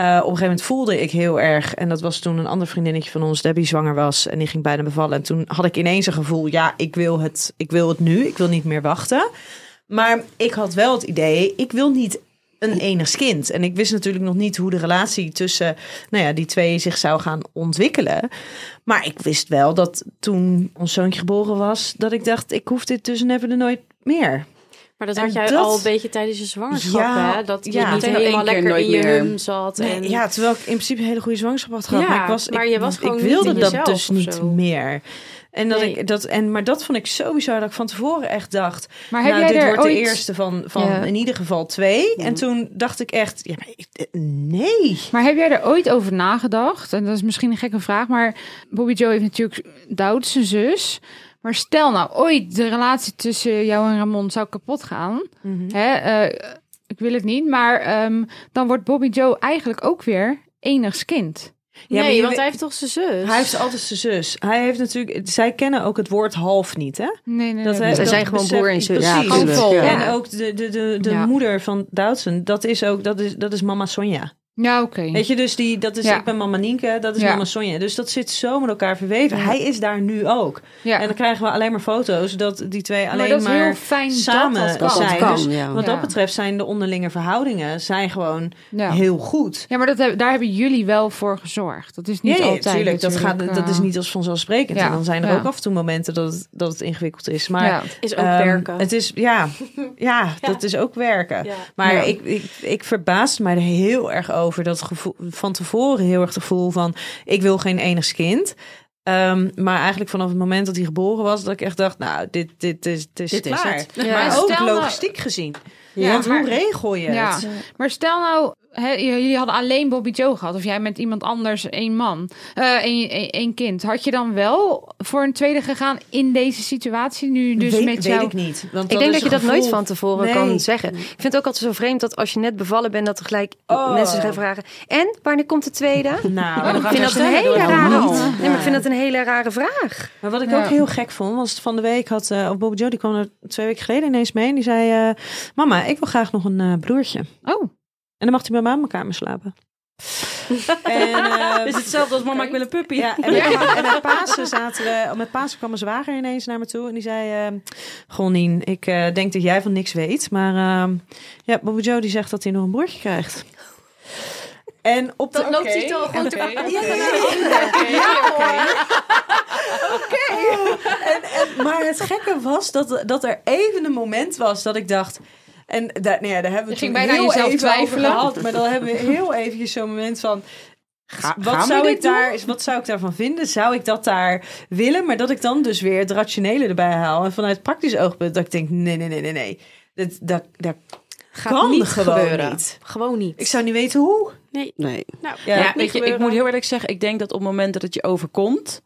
Speaker 2: op een gegeven moment voelde ik heel erg, en dat was toen een ander vriendinnetje van ons, Debbie, zwanger was en die ging bijna bevallen. En toen had ik ineens een gevoel, ja, ik wil het, ik wil het nu, ik wil niet meer wachten. Maar ik had wel het idee, ik wil niet een enig kind. En ik wist natuurlijk nog niet hoe de relatie tussen nou ja, die twee zich zou gaan ontwikkelen. Maar ik wist wel dat toen ons zoontje geboren was, dat ik dacht, ik hoef dit dus never de nooit meer.
Speaker 6: Maar dat
Speaker 2: En
Speaker 6: had jij
Speaker 2: dat-
Speaker 6: al een beetje tijdens je zwangerschap,
Speaker 2: Ja,
Speaker 6: hè? Dat je
Speaker 2: ja.
Speaker 6: niet
Speaker 4: Niet in één
Speaker 6: helemaal
Speaker 4: keer,
Speaker 6: lekker
Speaker 4: nooit
Speaker 6: in je
Speaker 4: meer.
Speaker 6: hum zat. en...
Speaker 2: ja, terwijl ik in principe een hele goede zwangerschap had gehad.
Speaker 6: Ja,
Speaker 2: maar, ik was,
Speaker 6: maar
Speaker 2: ik,
Speaker 6: je was gewoon
Speaker 2: ik
Speaker 6: niet
Speaker 2: wilde
Speaker 6: in
Speaker 2: dat
Speaker 6: jezelf
Speaker 2: dus
Speaker 6: of
Speaker 2: niet
Speaker 6: zo.
Speaker 2: meer. En dat
Speaker 6: Nee.
Speaker 2: ik dat en maar dat vond ik zo bizar dat ik van tevoren echt dacht.
Speaker 5: Maar heb
Speaker 2: nou,
Speaker 5: jij
Speaker 2: dit
Speaker 5: er
Speaker 2: wordt
Speaker 5: ooit-
Speaker 2: de eerste van, van
Speaker 3: Ja.
Speaker 2: in ieder geval twee. En toen dacht ik echt, ja, maar ik- eh, nee.
Speaker 5: Maar heb jij er ooit over nagedacht? En dat is misschien een gekke vraag, maar Bobby Joe heeft natuurlijk Douds zijn zus. Maar stel nou ooit de relatie tussen jou en Ramon zou kapot gaan.
Speaker 2: Mhm.
Speaker 5: Hè, eh, ik wil het niet, maar ehm, dan wordt Bobby Joe eigenlijk ook weer enigs kind.
Speaker 2: Ja, maar
Speaker 6: nee,
Speaker 2: je
Speaker 6: want
Speaker 2: weet-
Speaker 6: hij heeft toch zijn zus?
Speaker 2: Hij heeft altijd zijn zus. Hij heeft natuurlijk, zij kennen ook het woord half niet, hè?
Speaker 5: Nee, nee,
Speaker 2: Dat hij-
Speaker 5: nee.
Speaker 3: Ze
Speaker 2: dat
Speaker 3: zijn gewoon
Speaker 2: besef
Speaker 3: broer en
Speaker 2: ik
Speaker 3: zus.
Speaker 7: Ja,
Speaker 2: Precies.
Speaker 7: tuurlijk,
Speaker 5: Handvol.
Speaker 7: ja.
Speaker 2: En ook de, de, de, de
Speaker 5: Ja.
Speaker 2: moeder van Doutzen, dat is ook, dat is, dat is mama Sonja.
Speaker 5: Ja, oké.
Speaker 2: Weet je, dus die, dat is,
Speaker 5: Ja.
Speaker 2: ik ben mama Nienke, dat is
Speaker 5: Ja.
Speaker 2: mama Sonja. Dus dat zit zo met elkaar verweven.
Speaker 5: Ja.
Speaker 2: Hij is daar nu ook.
Speaker 5: Ja.
Speaker 2: En dan krijgen we alleen maar foto's dat die twee alleen
Speaker 5: maar dat is heel fijn
Speaker 2: samen
Speaker 5: dat dat kan.
Speaker 7: Dat
Speaker 2: zijn.
Speaker 7: kan,
Speaker 2: Dus
Speaker 7: ja.
Speaker 2: Wat
Speaker 5: Ja.
Speaker 2: dat betreft zijn de onderlinge verhoudingen zijn gewoon
Speaker 5: Ja.
Speaker 2: heel goed.
Speaker 5: Ja, maar dat, heb- daar hebben jullie wel voor gezorgd. Dat is niet
Speaker 2: ja, ja,
Speaker 5: altijd
Speaker 2: tuurlijk. Dat, gaat,
Speaker 5: natuurlijk,
Speaker 2: dat
Speaker 5: eh,
Speaker 2: is niet als vanzelfsprekend.
Speaker 5: ja.
Speaker 2: En dan zijn er
Speaker 5: Ja.
Speaker 2: ook af en toe momenten dat het, dat het ingewikkeld is. Maar
Speaker 5: ja.
Speaker 6: Is ook
Speaker 2: Ehm,
Speaker 6: werken.
Speaker 2: Het is, ja, ja, dat is ook werken.
Speaker 6: Ja.
Speaker 2: Maar
Speaker 5: Ja.
Speaker 2: Ik, ik, ik verbaasde mij er heel erg over. Dat gevoel, van tevoren heel erg het gevoel van... ik wil geen enig kind. Ehm, maar eigenlijk vanaf het moment dat hij geboren was... dat ik echt dacht, nou, dit, dit, is, dit is
Speaker 4: Dit is
Speaker 2: klaar.
Speaker 4: het.
Speaker 3: Ja.
Speaker 2: Maar ook
Speaker 5: Stel nou-
Speaker 2: logistiek gezien.
Speaker 5: Ja,
Speaker 2: Want
Speaker 5: maar-
Speaker 2: hoe regel je
Speaker 5: Ja.
Speaker 2: het?
Speaker 5: Maar stel nou, hè, j- jullie hadden alleen Bobby Joe gehad. Of jij met iemand anders één man, eh, één, één- één kind. Had je dan wel voor een tweede gegaan in deze situatie nu dus
Speaker 2: weet,
Speaker 5: met
Speaker 2: weet
Speaker 5: jou?
Speaker 2: ik niet. Want
Speaker 3: Ik
Speaker 2: is
Speaker 3: denk dat je
Speaker 2: een
Speaker 3: dat nooit
Speaker 2: gevoel-
Speaker 3: van tevoren
Speaker 2: Nee.
Speaker 3: kan zeggen. Ik vind het ook altijd zo vreemd dat als je net bevallen bent, dat er gelijk
Speaker 2: Oh.
Speaker 3: mensen gaan vragen. En wanneer komt de tweede?
Speaker 2: Nou,
Speaker 3: ik vind dat een hele rare. Nee, maar ik vind dat een hele rare vraag.
Speaker 2: Maar wat ik
Speaker 5: Ja.
Speaker 2: ook heel gek vond, was van de week had eh Bobby Joe, die kwam er twee weken geleden ineens mee. En die zei, eh, mama, ik wil graag nog een eh, broertje.
Speaker 5: Oh,
Speaker 2: En dan mag hij bij mij aan mijn kamer slapen. en, eh,
Speaker 4: Het is hetzelfde als mama, ik wil een puppy.
Speaker 2: ja, en, en met Pasen zaten we... Met Pasen kwam mijn zwager ineens naar me toe. En die zei... eh Goh, Nien, ik eh, denk dat jij van niks weet. Maar eh, ja, Bobby Joe die zegt dat hij nog een broertje krijgt. En op
Speaker 6: Dat
Speaker 2: de...
Speaker 6: loopt hij toch goed.
Speaker 2: Maar het gekke was dat, dat er even een moment was dat ik dacht... En daar, nou ja, daar hebben we
Speaker 5: Je
Speaker 2: toen
Speaker 5: ging bijna
Speaker 2: heel
Speaker 5: aan jezelf
Speaker 2: even
Speaker 5: twijfelen.
Speaker 2: over gehad. Maar dan hebben we heel eventjes zo'n moment van...
Speaker 4: Ga-
Speaker 2: wat,
Speaker 4: gaan we
Speaker 2: zou
Speaker 4: dit
Speaker 2: ik daar, wat zou ik daarvan vinden? Zou ik dat daar willen? Maar dat ik dan dus weer het rationele erbij haal. En vanuit praktisch oogpunt dat ik denk, nee, nee, nee, nee, nee. Dat, dat, dat
Speaker 6: Gaat
Speaker 2: kan
Speaker 6: niet
Speaker 2: gewoon
Speaker 6: gebeuren.
Speaker 2: niet.
Speaker 6: Gewoon niet.
Speaker 2: Ik zou niet weten hoe.
Speaker 6: Nee.
Speaker 7: Nee.
Speaker 6: Nou,
Speaker 2: Ja,
Speaker 6: gaat niet
Speaker 4: Ja, weet je, ik
Speaker 6: gebeuren.
Speaker 4: moet heel eerlijk zeggen, ik denk dat op het moment dat het je overkomt,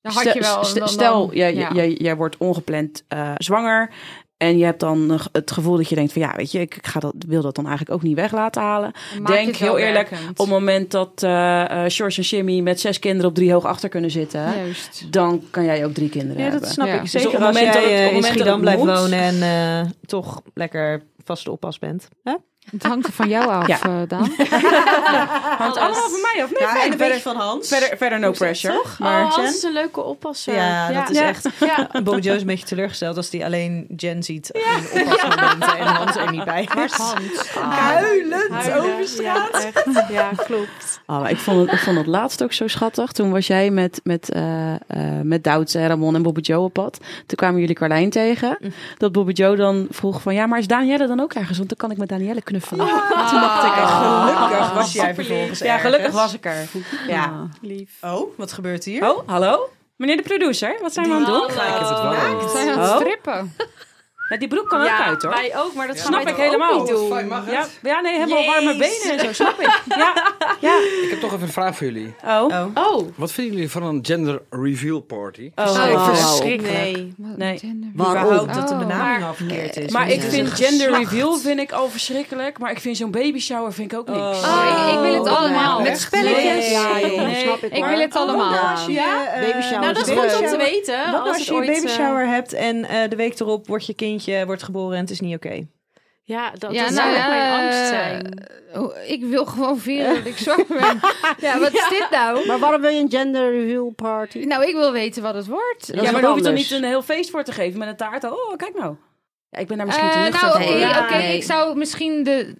Speaker 5: Dan had je wel...
Speaker 4: Stel,
Speaker 5: dan-
Speaker 4: stel
Speaker 5: dan-
Speaker 4: jij,
Speaker 5: ja.
Speaker 4: jij, jij wordt ongepland eh, zwanger. En je hebt dan nog het gevoel dat je denkt van ja, weet je, ik ik ga dat, wil dat dan eigenlijk ook niet weg laten halen.
Speaker 5: Dan maak je
Speaker 4: Denk
Speaker 5: het wel
Speaker 4: heel eerlijk,
Speaker 5: werkend.
Speaker 4: Op het moment dat eh eh George en Jimmy met zes kinderen op drie hoog achter kunnen zitten,
Speaker 5: Juist.
Speaker 4: dan kan jij ook drie kinderen
Speaker 2: Ja, dat
Speaker 4: hebben.
Speaker 2: snap
Speaker 5: Ja.
Speaker 2: ik.
Speaker 5: Dus
Speaker 2: Zeker
Speaker 4: op het
Speaker 2: als
Speaker 4: moment
Speaker 2: jij
Speaker 4: dat het- op het
Speaker 2: eh, in
Speaker 4: moment dat
Speaker 2: Schiedam
Speaker 4: het
Speaker 2: blijft
Speaker 4: moet-
Speaker 2: wonen en eh, toch lekker vaste oppas bent. Hè?
Speaker 5: Het hangt er van jou af,
Speaker 4: Ja.
Speaker 5: eh, Daan.
Speaker 4: Hangt allemaal van mij of niet?
Speaker 2: Ja, en de
Speaker 4: verder,
Speaker 2: weg van Hans.
Speaker 4: verder, verder no pressure.
Speaker 2: Maar
Speaker 6: oh,
Speaker 2: Jen?
Speaker 6: dat is een leuke oppasser.
Speaker 2: Ja, dat is echt...
Speaker 6: Ja.
Speaker 2: Bojo is een beetje teleurgesteld als hij alleen Jen ziet. Ja. In oppas en Hans er niet bij is. Ah. Huilend over straat.
Speaker 6: Ja, echt. ja, klopt.
Speaker 4: Oh, maar ik, vond het, ik vond het laatst ook zo schattig. Toen was jij met, met, eh eh, met Douds, eh, Ramon en Bobby Joe op pad. Toen kwamen jullie Carlijn tegen. Dat Bobby Joe dan vroeg van... Ja, maar is Danielle dan ook ergens? Want dan kan ik met Danielle knuffelen.
Speaker 2: Ah.
Speaker 4: Toen dacht ik...
Speaker 2: En
Speaker 6: Ah.
Speaker 4: oh.
Speaker 2: gelukkig was jij vervolgens
Speaker 4: Ja, gelukkig
Speaker 2: ergens.
Speaker 4: was ik er. Ja.
Speaker 6: Lief.
Speaker 2: Oh, wat gebeurt hier?
Speaker 4: Oh, hallo? Meneer de producer, wat zijn we aan het doen?
Speaker 6: Hallo.
Speaker 5: Zijn we aan het
Speaker 4: Oh.
Speaker 5: strippen?
Speaker 4: Ja, die broek kan ook
Speaker 6: ja,
Speaker 4: uit, hoor.
Speaker 6: wij ook, maar dat gaan
Speaker 4: Snap
Speaker 6: wij
Speaker 4: ik
Speaker 6: toch ook
Speaker 4: helemaal.
Speaker 6: niet doen.
Speaker 4: Ja, ja, nee, helemaal warme
Speaker 6: Jezus.
Speaker 4: benen en zo, snap ik. Ja, ja.
Speaker 8: Ik heb toch even een vraag voor jullie.
Speaker 4: Oh.
Speaker 2: Oh.
Speaker 6: Oh,
Speaker 8: Wat vinden jullie van een gender reveal party?
Speaker 4: Oh.
Speaker 6: nee.
Speaker 4: Nee.
Speaker 7: Waarom?
Speaker 2: dat de
Speaker 5: Oh.
Speaker 2: benaming al verkeerd is.
Speaker 4: Maar ik
Speaker 2: Ja.
Speaker 4: vind gender reveal vind ik al verschrikkelijk. Maar ik vind zo'n baby shower vind ik ook niks.
Speaker 5: Oh, ik, ik wil het allemaal.
Speaker 7: Nee.
Speaker 5: Met spelletjes.
Speaker 2: Nee.
Speaker 7: Ja, joh,
Speaker 4: Nee.
Speaker 7: snap ik.
Speaker 5: Ik
Speaker 7: maar.
Speaker 5: wil het allemaal.
Speaker 2: Als je, eh,
Speaker 7: Baby shower
Speaker 6: Nou, dat is goed om te weten.
Speaker 2: Wat als
Speaker 6: het
Speaker 2: je een
Speaker 6: ooit, eh,
Speaker 2: baby shower hebt en eh, de week erop wordt je kindje wordt geboren en het is niet oké?
Speaker 6: Ja, dat,
Speaker 5: Ja,
Speaker 6: dat
Speaker 5: nou
Speaker 6: zou ook
Speaker 5: ja,
Speaker 6: mijn angst
Speaker 5: eh,
Speaker 6: zijn.
Speaker 5: Oh, Ik wil gewoon vieren dat ik zwanger ben. Ja, wat is dit nou?
Speaker 7: Maar waarom wil je een gender reveal party?
Speaker 5: Nou, ik wil weten wat het wordt.
Speaker 4: ja,
Speaker 7: Dat is
Speaker 4: maar
Speaker 7: wat
Speaker 4: daar hoef je toch
Speaker 7: anders.
Speaker 4: niet een heel feest voor te geven met een taart. Oh, kijk nou. Ja, ik ben daar misschien te
Speaker 5: Eh,
Speaker 4: nuchter
Speaker 5: nou,
Speaker 4: voor.
Speaker 5: oké,
Speaker 4: Ja.
Speaker 5: oké, ik zou misschien de,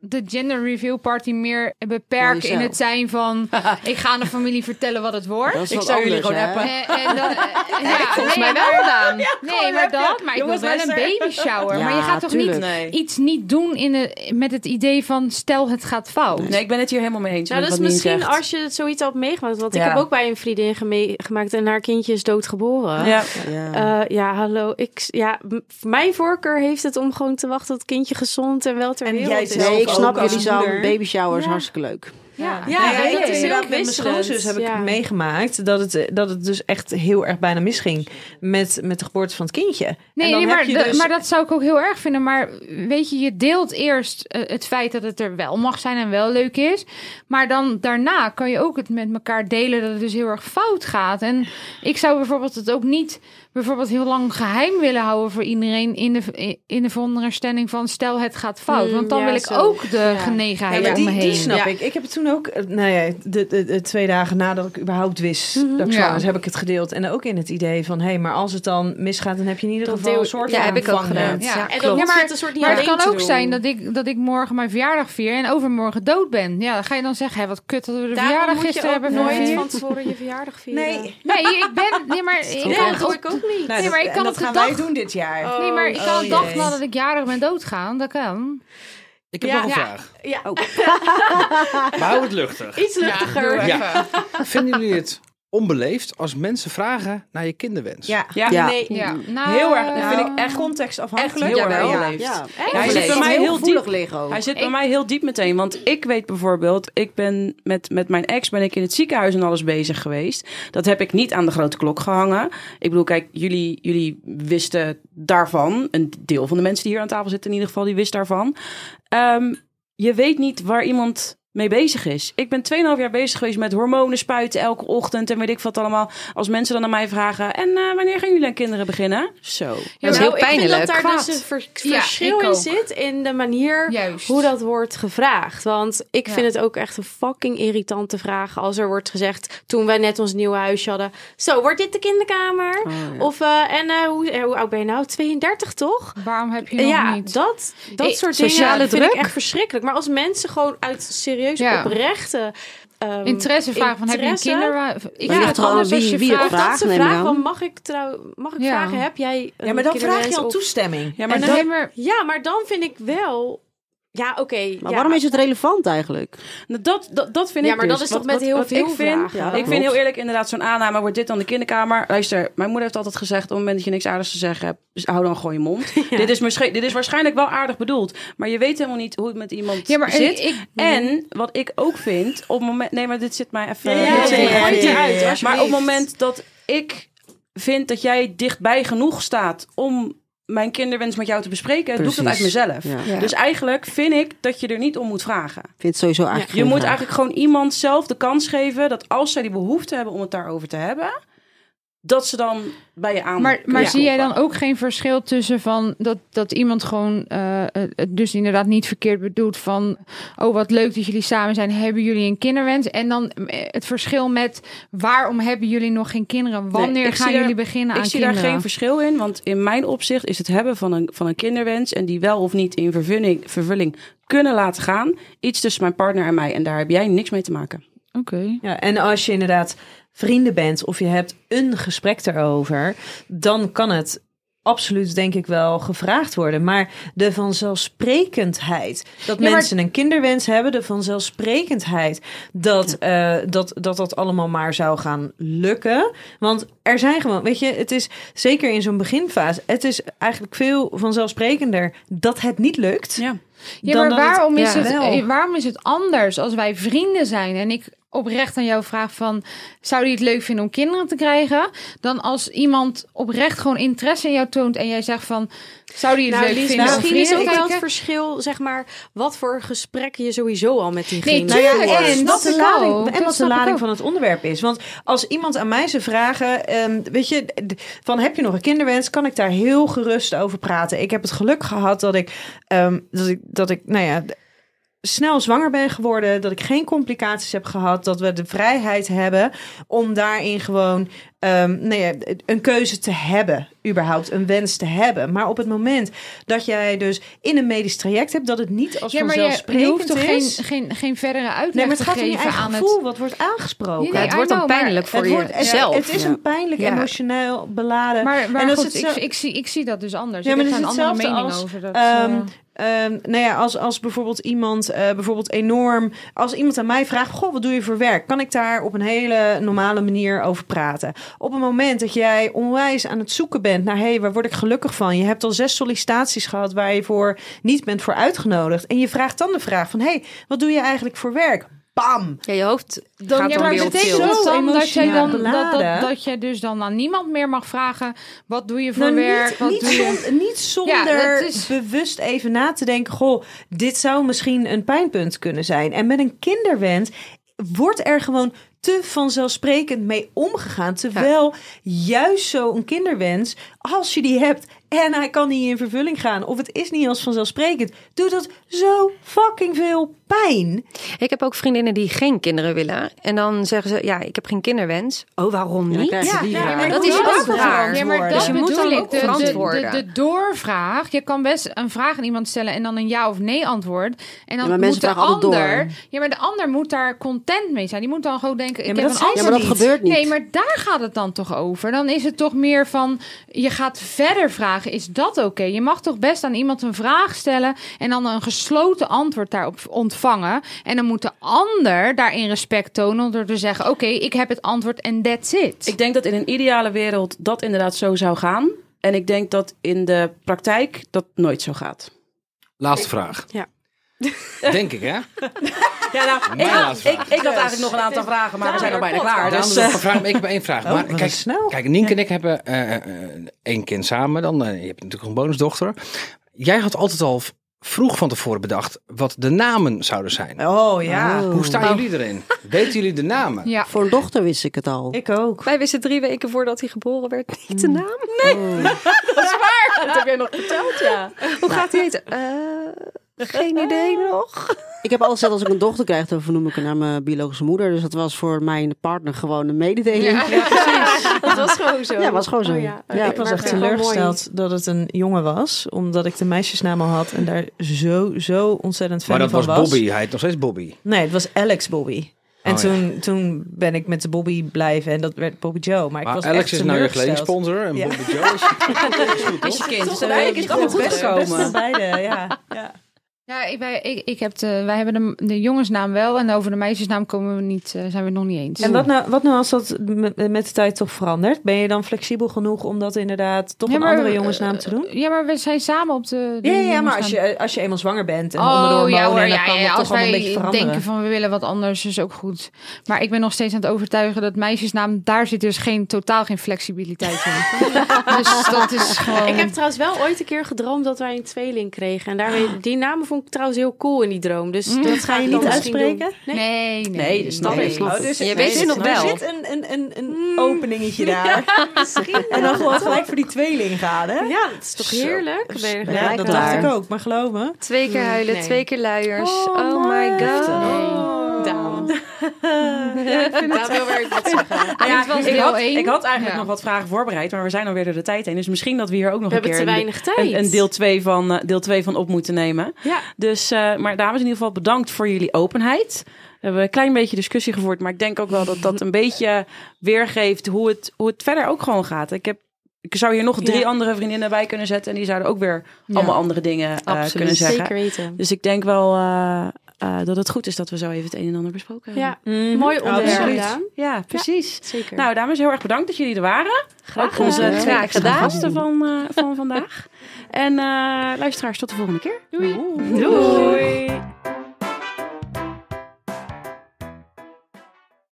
Speaker 5: de gender reveal party meer beperken in
Speaker 7: Jezelf.
Speaker 5: het zijn van... ik ga aan de familie vertellen wat het wordt.
Speaker 7: Dat is
Speaker 4: Ik
Speaker 7: wat
Speaker 4: zou jullie
Speaker 7: anders,
Speaker 4: gewoon
Speaker 7: hè?
Speaker 4: appen.
Speaker 5: Eh, en dan, eh, ja,
Speaker 1: Volgens mij
Speaker 5: nee,
Speaker 1: wel
Speaker 5: maar-
Speaker 1: gedaan.
Speaker 5: Nee, maar dat. Maar ik wil wel een baby shower.
Speaker 7: Ja,
Speaker 5: maar je gaat toch niet
Speaker 7: tuurlijk.
Speaker 5: iets niet doen in de, met het idee van stel het gaat fout.
Speaker 4: Nee, ik ben het hier helemaal mee eens.
Speaker 6: Nou,
Speaker 4: met
Speaker 6: dat is
Speaker 4: wat Nien
Speaker 6: misschien
Speaker 4: zegt.
Speaker 6: als je het zoiets had meegemaakt. Want
Speaker 4: Ja.
Speaker 6: ik heb ook bij een vriendin geme- gemaakt en haar kindje is doodgeboren.
Speaker 4: Ja.
Speaker 7: Ja.
Speaker 6: Eh, ja, hallo. Ik, ja, m- mijn voorkeur heeft het om gewoon te wachten tot het kindje gezond en wel ter
Speaker 2: En
Speaker 6: wereld
Speaker 2: jij
Speaker 6: is.
Speaker 2: zelf
Speaker 7: Nee, ik snap
Speaker 2: ook als
Speaker 7: jullie zo.
Speaker 2: moeder.
Speaker 7: Baby shower is hartstikke leuk.
Speaker 5: Ja,
Speaker 6: Ja,
Speaker 2: Nou
Speaker 6: dat
Speaker 2: ik heb
Speaker 6: is
Speaker 2: inderdaad
Speaker 6: heel
Speaker 2: met mijn
Speaker 6: wisselend,
Speaker 2: schoonzus heb ik
Speaker 6: ja.
Speaker 2: het meegemaakt dat het, eh, dat het dus echt heel erg bijna misging met, met de geboorte van het kindje. En
Speaker 5: Nee,
Speaker 2: dan
Speaker 5: nee,
Speaker 2: heb
Speaker 5: maar,
Speaker 2: je
Speaker 5: dat-
Speaker 2: dus-
Speaker 5: maar dat zou ik ook heel erg vinden. Maar weet je, je deelt eerst eh, het feit dat het er wel mag zijn en wel leuk is. Maar dan daarna kan je ook het met elkaar delen dat het dus heel erg fout gaat. En ik zou bijvoorbeeld het ook niet bijvoorbeeld heel lang geheim willen houden voor iedereen in de, in de veronderstelling van stel het gaat fout.
Speaker 6: Mm,
Speaker 5: Want dan
Speaker 6: ja,
Speaker 5: wil ik
Speaker 6: zo.
Speaker 5: ook de
Speaker 6: Ja.
Speaker 2: Ja,
Speaker 5: genegenheid
Speaker 2: maar
Speaker 5: om me
Speaker 2: die, die
Speaker 5: heen.
Speaker 2: snap
Speaker 6: Ja.
Speaker 2: ik. Ik heb het toen ook, eh, nou ja, de, de, de twee dagen nadat ik überhaupt wist dat ik
Speaker 5: Ja.
Speaker 2: zwanger was, heb ik het gedeeld. En ook in het idee van, hé, maar als het dan misgaat, dan heb je in ieder
Speaker 6: Dat
Speaker 2: geval
Speaker 6: deel-
Speaker 2: een soort
Speaker 1: Ja,
Speaker 2: van eh,
Speaker 1: heb ik ook
Speaker 2: vangnet.
Speaker 1: gedaan.
Speaker 5: Ja.
Speaker 1: Ja,
Speaker 6: En
Speaker 1: klopt.
Speaker 6: dan
Speaker 5: Ja,
Speaker 6: hoeft
Speaker 5: maar-
Speaker 6: het een soort niet
Speaker 5: Maar het
Speaker 6: alleen
Speaker 5: kan
Speaker 6: te
Speaker 5: ook
Speaker 6: doen.
Speaker 5: zijn dat ik, dat ik morgen mijn verjaardag vier en overmorgen dood ben. Ja, dan ga je dan zeggen, hé, wat kut dat we de
Speaker 6: Daarom
Speaker 5: verjaardag
Speaker 6: moet je
Speaker 5: gisteren
Speaker 6: ook
Speaker 5: hebben
Speaker 6: nooit
Speaker 5: gevierd.
Speaker 6: van tevoren je verjaardag vieren.
Speaker 2: Nee,
Speaker 5: Nee, ik ben. Nee, maar ik
Speaker 6: Nee,
Speaker 5: kan
Speaker 6: dat
Speaker 5: het
Speaker 6: doe
Speaker 5: ook-
Speaker 6: ik ook niet.
Speaker 2: Nou,
Speaker 5: Nee, maar
Speaker 2: dat-
Speaker 5: ik
Speaker 2: en
Speaker 5: kan
Speaker 2: dat
Speaker 5: het
Speaker 2: gaan
Speaker 5: gedag-
Speaker 2: wij doen dit jaar.
Speaker 6: Oh.
Speaker 5: Nee, maar ik kan
Speaker 2: Oh,
Speaker 5: een dag
Speaker 2: jee.
Speaker 5: nadat ik jarig ben doodgaan. Dat kan.
Speaker 8: Ik heb
Speaker 6: Ja.
Speaker 8: nog een
Speaker 6: Ja.
Speaker 8: vraag.
Speaker 6: Ja,
Speaker 8: Maar hou het luchtig.
Speaker 6: iets luchtiger. Ja,
Speaker 8: Vinden jullie het onbeleefd als mensen vragen naar je kinderwens?
Speaker 2: Ja.
Speaker 4: Ja.
Speaker 7: Ja.
Speaker 6: Nee.
Speaker 5: Ja. Nou,
Speaker 4: Heel erg. Dat vind
Speaker 2: Nou,
Speaker 4: ik echt echt
Speaker 2: contextafhankelijk.
Speaker 4: heel erg
Speaker 1: Jawel, ja.
Speaker 4: beleefd.
Speaker 7: Ja.
Speaker 5: eh,
Speaker 4: Ja, hij
Speaker 7: Hij
Speaker 4: zit bij mij heel
Speaker 7: gevoelig
Speaker 4: diep.
Speaker 7: liggen ook.
Speaker 4: Hij zit bij
Speaker 5: Ik-
Speaker 4: mij heel diep meteen. Want ik weet bijvoorbeeld, ik ben met, met mijn ex ben ik in het ziekenhuis en alles bezig geweest. Dat heb ik niet aan de grote klok gehangen. Ik bedoel, kijk, jullie, jullie wisten daarvan. Een deel van de mensen die hier aan tafel zitten in ieder geval, die wist daarvan. Ehm, je weet niet waar iemand mee bezig is. Ik ben 2,5 jaar bezig geweest met hormonen spuiten elke ochtend en weet ik wat allemaal. Als mensen dan aan mij vragen, en eh, wanneer gaan jullie aan kinderen beginnen? Zo.
Speaker 1: Dat is
Speaker 6: Nou,
Speaker 1: heel
Speaker 6: Ik vind
Speaker 1: pijnlijk.
Speaker 6: dat daar
Speaker 5: Kwaad.
Speaker 6: dus een vers-
Speaker 5: Ja,
Speaker 6: verschil
Speaker 5: ik
Speaker 6: in
Speaker 5: ook.
Speaker 6: zit in de manier
Speaker 5: Juist.
Speaker 6: hoe dat wordt gevraagd. Want ik
Speaker 5: Ja.
Speaker 6: vind het ook echt een fucking irritante vraag als er wordt gezegd toen wij net ons nieuwe huisje hadden. Zo, wordt dit de kinderkamer?
Speaker 5: Oh,
Speaker 6: Of eh, en eh, hoe, eh, hoe oud ben je nou? 32 toch?
Speaker 5: Waarom heb je nog
Speaker 6: Ja,
Speaker 5: niet?
Speaker 6: dat, dat
Speaker 5: Eh,
Speaker 6: soort
Speaker 1: sociale
Speaker 6: dingen vind
Speaker 1: druk?
Speaker 6: ik echt verschrikkelijk. Maar als mensen gewoon uit serieus
Speaker 5: Ja.
Speaker 6: oprechte... ehm,
Speaker 5: Interesse vragen van heb je een
Speaker 6: interesse?
Speaker 5: kinderwens? Ik vind
Speaker 7: ligt
Speaker 5: het
Speaker 7: er al
Speaker 5: anders
Speaker 7: wie-
Speaker 5: als je
Speaker 7: wie dat
Speaker 5: vraagt.
Speaker 7: vraagt.
Speaker 6: Dat ze
Speaker 7: neem ik aan.
Speaker 6: vragen van mag ik, trouw, mag ik
Speaker 5: Ja.
Speaker 6: vragen, heb jij een
Speaker 2: Ja, maar dan vraag je
Speaker 6: kinderwens
Speaker 2: al
Speaker 6: of-
Speaker 2: toestemming.
Speaker 4: Ja,
Speaker 5: Maar
Speaker 4: maar
Speaker 5: dan
Speaker 4: dat-
Speaker 5: hebben
Speaker 6: Ja, maar dan vind ik wel... Ja, oké.
Speaker 7: Maar
Speaker 6: ja.
Speaker 7: waarom is het relevant eigenlijk?
Speaker 4: Nou, Dat, dat, dat vind
Speaker 6: Ja,
Speaker 4: ik
Speaker 6: maar
Speaker 4: dus.
Speaker 6: dat is
Speaker 4: Wat-
Speaker 6: toch met
Speaker 4: wat-
Speaker 6: heel
Speaker 4: wat
Speaker 6: veel
Speaker 4: ik vind,
Speaker 6: vragen? Ja,
Speaker 4: Ik
Speaker 7: klopt.
Speaker 4: vind heel eerlijk inderdaad zo'n aanname. Wordt dit dan de kinderkamer? Luister, mijn moeder heeft altijd gezegd... op het moment dat je niks aardigs te zeggen hebt... dus hou dan gewoon je mond. Dit, is misschien, dit is waarschijnlijk wel aardig bedoeld. Maar je weet helemaal niet hoe het met iemand
Speaker 5: Ja, maar ik-
Speaker 4: zit.
Speaker 5: ik-
Speaker 4: en wat ik ook vind... op het moment... Nee, maar dit zit mij even...
Speaker 6: Ja, ja,
Speaker 4: dit zit-
Speaker 6: ja, ja,
Speaker 4: gooi het
Speaker 6: ja,
Speaker 4: eruit,
Speaker 6: ja, ja.
Speaker 4: Maar op het
Speaker 6: Alsjeblieft.
Speaker 4: moment dat ik vind dat jij dichtbij genoeg staat... om mijn kinderwens met jou te bespreken... doe ik dat uit
Speaker 7: Precies.
Speaker 4: mezelf.
Speaker 7: Ja.
Speaker 3: Ja.
Speaker 4: Dus eigenlijk vind ik dat je er niet om moet vragen.
Speaker 7: Ik vind het sowieso eigenlijk
Speaker 4: Je
Speaker 7: geen
Speaker 4: moet
Speaker 7: vraag.
Speaker 4: eigenlijk gewoon iemand zelf de kans geven dat als zij die behoefte hebben om het daarover te hebben, dat ze dan bij je aan.
Speaker 5: Maar, maar
Speaker 4: Ja.
Speaker 5: zie jij dan ook geen verschil tussen van dat, dat iemand gewoon eh, het dus inderdaad niet verkeerd bedoelt van oh wat leuk dat jullie samen zijn, hebben jullie een kinderwens? En dan eh, het verschil met waarom hebben jullie nog geen kinderen? Wanneer
Speaker 4: ik
Speaker 5: gaan
Speaker 4: zie daar-
Speaker 5: jullie beginnen
Speaker 4: Ik
Speaker 5: aan
Speaker 4: zie
Speaker 5: kinderen?
Speaker 4: daar geen verschil in, want in mijn opzicht is het hebben van een, van een kinderwens en die wel of niet in vervulling, vervulling kunnen laten gaan, iets tussen mijn partner en mij. En daar heb jij niks mee te maken.
Speaker 5: Oké.
Speaker 2: Ja, en als je inderdaad vrienden bent of je hebt een gesprek daarover, dan kan het absoluut denk ik wel gevraagd worden. Maar de vanzelfsprekendheid dat
Speaker 5: Ja, maar-
Speaker 2: mensen een kinderwens hebben, de vanzelfsprekendheid dat, eh, dat, dat dat allemaal maar zou gaan lukken. Want er zijn gewoon, weet je, het is zeker in zo'n beginfase, het is eigenlijk veel vanzelfsprekender dat het niet lukt.
Speaker 4: Ja.
Speaker 5: Ja,
Speaker 2: dan
Speaker 5: maar
Speaker 2: dat het-
Speaker 5: waarom, is
Speaker 2: ja,
Speaker 5: het,
Speaker 2: wel.
Speaker 5: eh, waarom is het anders als wij vrienden zijn en ik oprecht aan jou vraag van zou je het leuk vinden om kinderen te krijgen dan als iemand oprecht gewoon interesse in jou toont en jij zegt van zou je het
Speaker 6: Nou,
Speaker 5: leuk
Speaker 6: Lies,
Speaker 5: vinden om
Speaker 6: misschien is
Speaker 5: vrienden
Speaker 6: ook
Speaker 5: te
Speaker 6: wel het
Speaker 5: kijken?
Speaker 6: verschil, zeg maar, wat voor gesprekken je sowieso al met diegene
Speaker 5: Nee,
Speaker 6: hebt.
Speaker 5: Nou ja, tuurlijk.
Speaker 2: en
Speaker 5: dat
Speaker 2: wat de
Speaker 5: ik
Speaker 2: lading,
Speaker 5: ook.
Speaker 2: en
Speaker 5: Dat
Speaker 2: wat de
Speaker 5: snap ik ook.
Speaker 2: lading van het onderwerp is. Want als iemand aan mij zou vragen, ehm, weet je, d- van heb je nog een kinderwens, kan ik daar heel gerust over praten. Ik heb het geluk gehad dat ik, ehm, dat ik, dat ik nou ja, d- snel zwanger ben geworden, dat ik geen complicaties heb gehad, dat we de vrijheid hebben om daarin gewoon ehm, nou ja, een keuze te hebben, überhaupt een wens te hebben. Maar op het moment dat jij dus in een medisch traject hebt, dat het niet als
Speaker 5: Ja, maar je,
Speaker 2: vanzelfsprekend
Speaker 5: je hoeft toch
Speaker 2: is.
Speaker 5: geen, geen, geen verdere uitleg
Speaker 2: Nee, maar
Speaker 5: te
Speaker 2: het gaat om je
Speaker 5: geven
Speaker 2: eigen
Speaker 5: aan
Speaker 2: gevoel
Speaker 5: het...
Speaker 2: wat wordt aangesproken.
Speaker 5: Ja,
Speaker 3: het wordt
Speaker 5: I
Speaker 3: dan
Speaker 5: know, maar
Speaker 3: pijnlijk voor
Speaker 2: het, wordt, het,
Speaker 3: jezelf.
Speaker 2: het is een pijnlijk,
Speaker 3: Ja.
Speaker 2: emotioneel beladen.
Speaker 5: Maar, maar
Speaker 2: en dat
Speaker 5: goed,
Speaker 2: is
Speaker 5: ik,
Speaker 2: hetzelfde-
Speaker 5: ik, zie, ik zie dat dus anders.
Speaker 2: Ja,
Speaker 5: Ik
Speaker 2: maar
Speaker 5: heb
Speaker 2: dat
Speaker 5: daar
Speaker 2: is
Speaker 5: een andere
Speaker 2: hetzelfde
Speaker 5: mening
Speaker 2: als,
Speaker 5: over. Dat,
Speaker 2: ehm,
Speaker 5: eh,
Speaker 2: Ehm, nou ja, als, als bijvoorbeeld iemand eh, bijvoorbeeld enorm. Als iemand aan mij vraagt: Goh, wat doe je voor werk? Kan ik daar op een hele normale manier over praten? Op het moment dat jij onwijs aan het zoeken bent naar: hé, hey, waar word ik gelukkig van? Je hebt al zes sollicitaties gehad waar je voor niet bent voor uitgenodigd. En je vraagt dan de vraag: van, hé, hey, wat doe je eigenlijk voor werk? Bam!
Speaker 3: Ja, je hoofd
Speaker 5: dan,
Speaker 3: gaat
Speaker 5: ja,
Speaker 3: dan
Speaker 5: maar
Speaker 3: weer op
Speaker 5: betekent
Speaker 3: tilt.
Speaker 2: tilt.
Speaker 5: dat
Speaker 2: Zo
Speaker 5: dan dat jij dan dat,
Speaker 2: emotioneel
Speaker 5: dat,
Speaker 2: beladen.
Speaker 5: dat je dus dan aan niemand meer mag vragen wat doe je voor
Speaker 2: Nou,
Speaker 5: werk?
Speaker 2: niet,
Speaker 5: wat
Speaker 2: niet,
Speaker 5: doe je?
Speaker 2: zon- niet
Speaker 5: Ja,
Speaker 2: zonder
Speaker 5: dat is-
Speaker 2: bewust even na te denken. Goh, dit zou misschien een pijnpunt kunnen zijn. En met een kinderwens wordt er gewoon te vanzelfsprekend mee omgegaan. Terwijl juist zo'n kinderwens, als je die hebt en hij kan niet in vervulling gaan... of het is niet als vanzelfsprekend, doet dat zo fucking veel pijn.
Speaker 3: Ik heb ook vriendinnen die geen kinderen willen. En dan zeggen ze, ja, ik heb geen kinderwens. Oh, waarom
Speaker 7: Ja, dan
Speaker 3: niet?
Speaker 7: krijg je die
Speaker 5: Ja,
Speaker 7: vraag.
Speaker 5: maar
Speaker 3: dat
Speaker 5: hoe
Speaker 3: is
Speaker 5: dan?
Speaker 3: ook raar.
Speaker 5: Nee, maar dat
Speaker 3: Dus je moet
Speaker 5: bedoel
Speaker 3: dan
Speaker 5: ik.
Speaker 3: ook
Speaker 5: De, de, de,
Speaker 3: verantwoorden.
Speaker 5: de doorvraag. Je kan best een vraag aan iemand stellen en dan een ja of nee antwoord. En dan
Speaker 7: Ja, maar mensen
Speaker 5: moet de
Speaker 7: vragen altijd
Speaker 5: ander.
Speaker 7: door.
Speaker 5: Ja, maar de ander moet daar content mee zijn. Die moet dan gewoon denken.
Speaker 2: Ja,
Speaker 5: ik
Speaker 2: maar
Speaker 5: heb
Speaker 2: dat
Speaker 5: een
Speaker 2: zijn
Speaker 7: Ja,
Speaker 5: antwoord.
Speaker 7: maar dat
Speaker 2: niet.
Speaker 7: gebeurt niet.
Speaker 5: Nee, maar daar gaat het dan toch over. Dan is het toch meer van je gaat verder vragen. Is dat oké? Je mag toch best aan iemand een vraag stellen en dan een gesloten antwoord daarop ontvangen. En dan moet de ander daarin respect tonen door te zeggen: oké, ik heb het antwoord en that's it.
Speaker 4: Ik denk dat in een ideale wereld dat inderdaad zo zou gaan. En ik denk dat in de praktijk dat nooit zo gaat.
Speaker 8: Laatste vraag.
Speaker 6: Ja.
Speaker 8: Denk ik, hè?
Speaker 4: Ja, nou,
Speaker 8: Mijn
Speaker 4: ik,
Speaker 8: laatste
Speaker 4: ik, ik had eigenlijk nog een aantal vragen, maar we zijn al bijna klaar.
Speaker 8: Daarom
Speaker 4: Dus,
Speaker 8: nog
Speaker 4: eh,
Speaker 8: een vraag, maar ik heb maar één vraag. maar
Speaker 2: Oh, wat
Speaker 8: kijk,
Speaker 2: snel.
Speaker 8: kijk, Nienke en ik hebben eh, eh, één kind samen. Dan, eh, je hebt natuurlijk een bonusdochter. Jij had altijd al v- vroeg van tevoren bedacht wat de namen zouden zijn.
Speaker 2: Oh ja,
Speaker 8: Hoe staan jullie erin? Weten jullie de namen?
Speaker 5: ja.
Speaker 7: Voor een dochter wist ik het al.
Speaker 2: ik ook.
Speaker 3: Wij wisten drie weken voordat hij geboren werd niet de naam. Mm. Nee,
Speaker 4: dat heb jij nog verteld, ja.
Speaker 3: hoe gaat hij heten? Eh, geen idee nog.
Speaker 7: Ik heb altijd gezegd, als ik een dochter krijg, dan vernoem ik haar naar mijn biologische moeder. Dus dat was voor mijn partner gewoon een mededeling.
Speaker 5: Ja.
Speaker 7: Dat
Speaker 6: was gewoon zo.
Speaker 7: Ja, was gewoon zo.
Speaker 6: Oh ja.
Speaker 7: Ja,
Speaker 6: Oké,
Speaker 2: Ik was
Speaker 6: maar
Speaker 2: echt
Speaker 6: wel mooi.
Speaker 2: teleurgesteld dat het een jongen was, omdat ik de meisjesnaam al had en daar zo, zo ontzettend fan
Speaker 8: Maar dat
Speaker 2: van
Speaker 8: was
Speaker 2: was.
Speaker 8: Bobby. Hij heet nog steeds Bobby.
Speaker 2: Nee, het was Alex Bobby. En
Speaker 8: Oh, ja.
Speaker 2: toen, toen ben ik met de Bobby blijven en dat werd Bobby Joe. Maar, ik
Speaker 8: Maar
Speaker 2: was
Speaker 8: Alex
Speaker 2: echt
Speaker 8: is nou je
Speaker 2: teleurgesteld.
Speaker 8: kledingsponsor en
Speaker 2: Ja.
Speaker 8: Bobby Joe is...
Speaker 4: Is je kind.
Speaker 2: Eh,
Speaker 4: Dus uiteindelijk is het allemaal goed
Speaker 2: best- best van
Speaker 4: gekomen.
Speaker 2: beide, ja. ja.
Speaker 5: Ja, ik, wij, ik, ik heb de, wij hebben de, de jongensnaam wel en over de meisjesnaam komen we niet, eh, zijn we het nog niet eens.
Speaker 2: En wat nou, wat nou als dat met, met de tijd toch verandert? Ben je dan flexibel genoeg om dat inderdaad toch
Speaker 5: Ja,
Speaker 2: een
Speaker 5: maar,
Speaker 2: andere
Speaker 5: eh,
Speaker 2: jongensnaam te doen?
Speaker 5: Ja, maar we zijn samen op de. de
Speaker 2: Ja, ja, maar als
Speaker 5: jongensnaam.
Speaker 2: je, als je eenmaal zwanger bent
Speaker 5: Oh,
Speaker 2: en onder de hormonen, dan kan dat
Speaker 5: als
Speaker 2: toch allemaal een beetje
Speaker 5: wij
Speaker 2: veranderen.
Speaker 5: denken van we willen wat anders, is ook goed. Maar ik ben nog steeds aan het overtuigen dat meisjesnaam, daar zit dus geen, totaal geen flexibiliteit in. dus dat is gewoon...
Speaker 6: Ik heb trouwens wel ooit een keer gedroomd dat wij een tweeling kregen. En daarmee, die namen vond ik trouwens heel cool in die droom. Dus dat ga je
Speaker 2: niet uitspreken?
Speaker 6: Nee.
Speaker 5: Nee, nee.
Speaker 4: Nee, dat snap
Speaker 6: Nee.
Speaker 4: ik.
Speaker 7: Oh,
Speaker 3: Je weet het nog wel.
Speaker 2: Nou, dus Er zit Hmm. een, een, een, een openingetje daar. en dan gewoon gelijk voor die tweeling gaan, hè?
Speaker 6: Ja, dat is toch heerlijk? Ben je
Speaker 7: Ja,
Speaker 6: gelijk
Speaker 2: dat
Speaker 7: klaar.
Speaker 2: dacht ik ook, maar geloof me.
Speaker 3: Twee keer huilen,
Speaker 6: Nee.
Speaker 3: twee keer luiers. Oh, my god.
Speaker 5: Oh.
Speaker 6: Daan. Daan wil weer wat zeggen.
Speaker 4: Nou ja,
Speaker 5: Dit was
Speaker 4: ik,
Speaker 5: deel
Speaker 4: had,
Speaker 5: één.
Speaker 4: ik had eigenlijk
Speaker 5: Ja.
Speaker 4: nog wat vragen voorbereid, maar we zijn alweer door de tijd heen. Dus misschien dat we hier ook nog
Speaker 6: We
Speaker 4: een
Speaker 6: hebben
Speaker 4: keer
Speaker 6: te
Speaker 4: een-
Speaker 6: weinig tijd.
Speaker 4: een, een deel 2 van, eh, deel twee van op moeten nemen.
Speaker 6: Ja.
Speaker 4: Dus, eh, maar dames, in ieder geval bedankt voor jullie openheid. We hebben een klein beetje discussie gevoerd, maar ik denk ook wel dat dat een beetje weergeeft hoe het, hoe het verder ook gewoon gaat. Ik, heb, ik zou hier nog drie
Speaker 6: Ja.
Speaker 4: andere vriendinnen bij kunnen zetten en die zouden ook weer allemaal andere dingen eh,
Speaker 3: Absoluut.
Speaker 4: kunnen zeggen.
Speaker 6: Zeker weten.
Speaker 4: Dus ik denk wel eh, eh, dat het goed is dat we zo even het een en ander besproken hebben.
Speaker 6: Ja, mooi onderwerp,
Speaker 4: Absoluut.
Speaker 6: Daan.
Speaker 4: Ja, precies.
Speaker 6: Zeker.
Speaker 4: Nou, dames, heel erg bedankt dat jullie er waren. Ook onze
Speaker 3: gedaan.
Speaker 4: twee
Speaker 3: Graag
Speaker 4: extra
Speaker 3: gedaan.
Speaker 4: gasten van, eh, van vandaag. En eh, luisteraars, tot de volgende keer.
Speaker 6: Doei.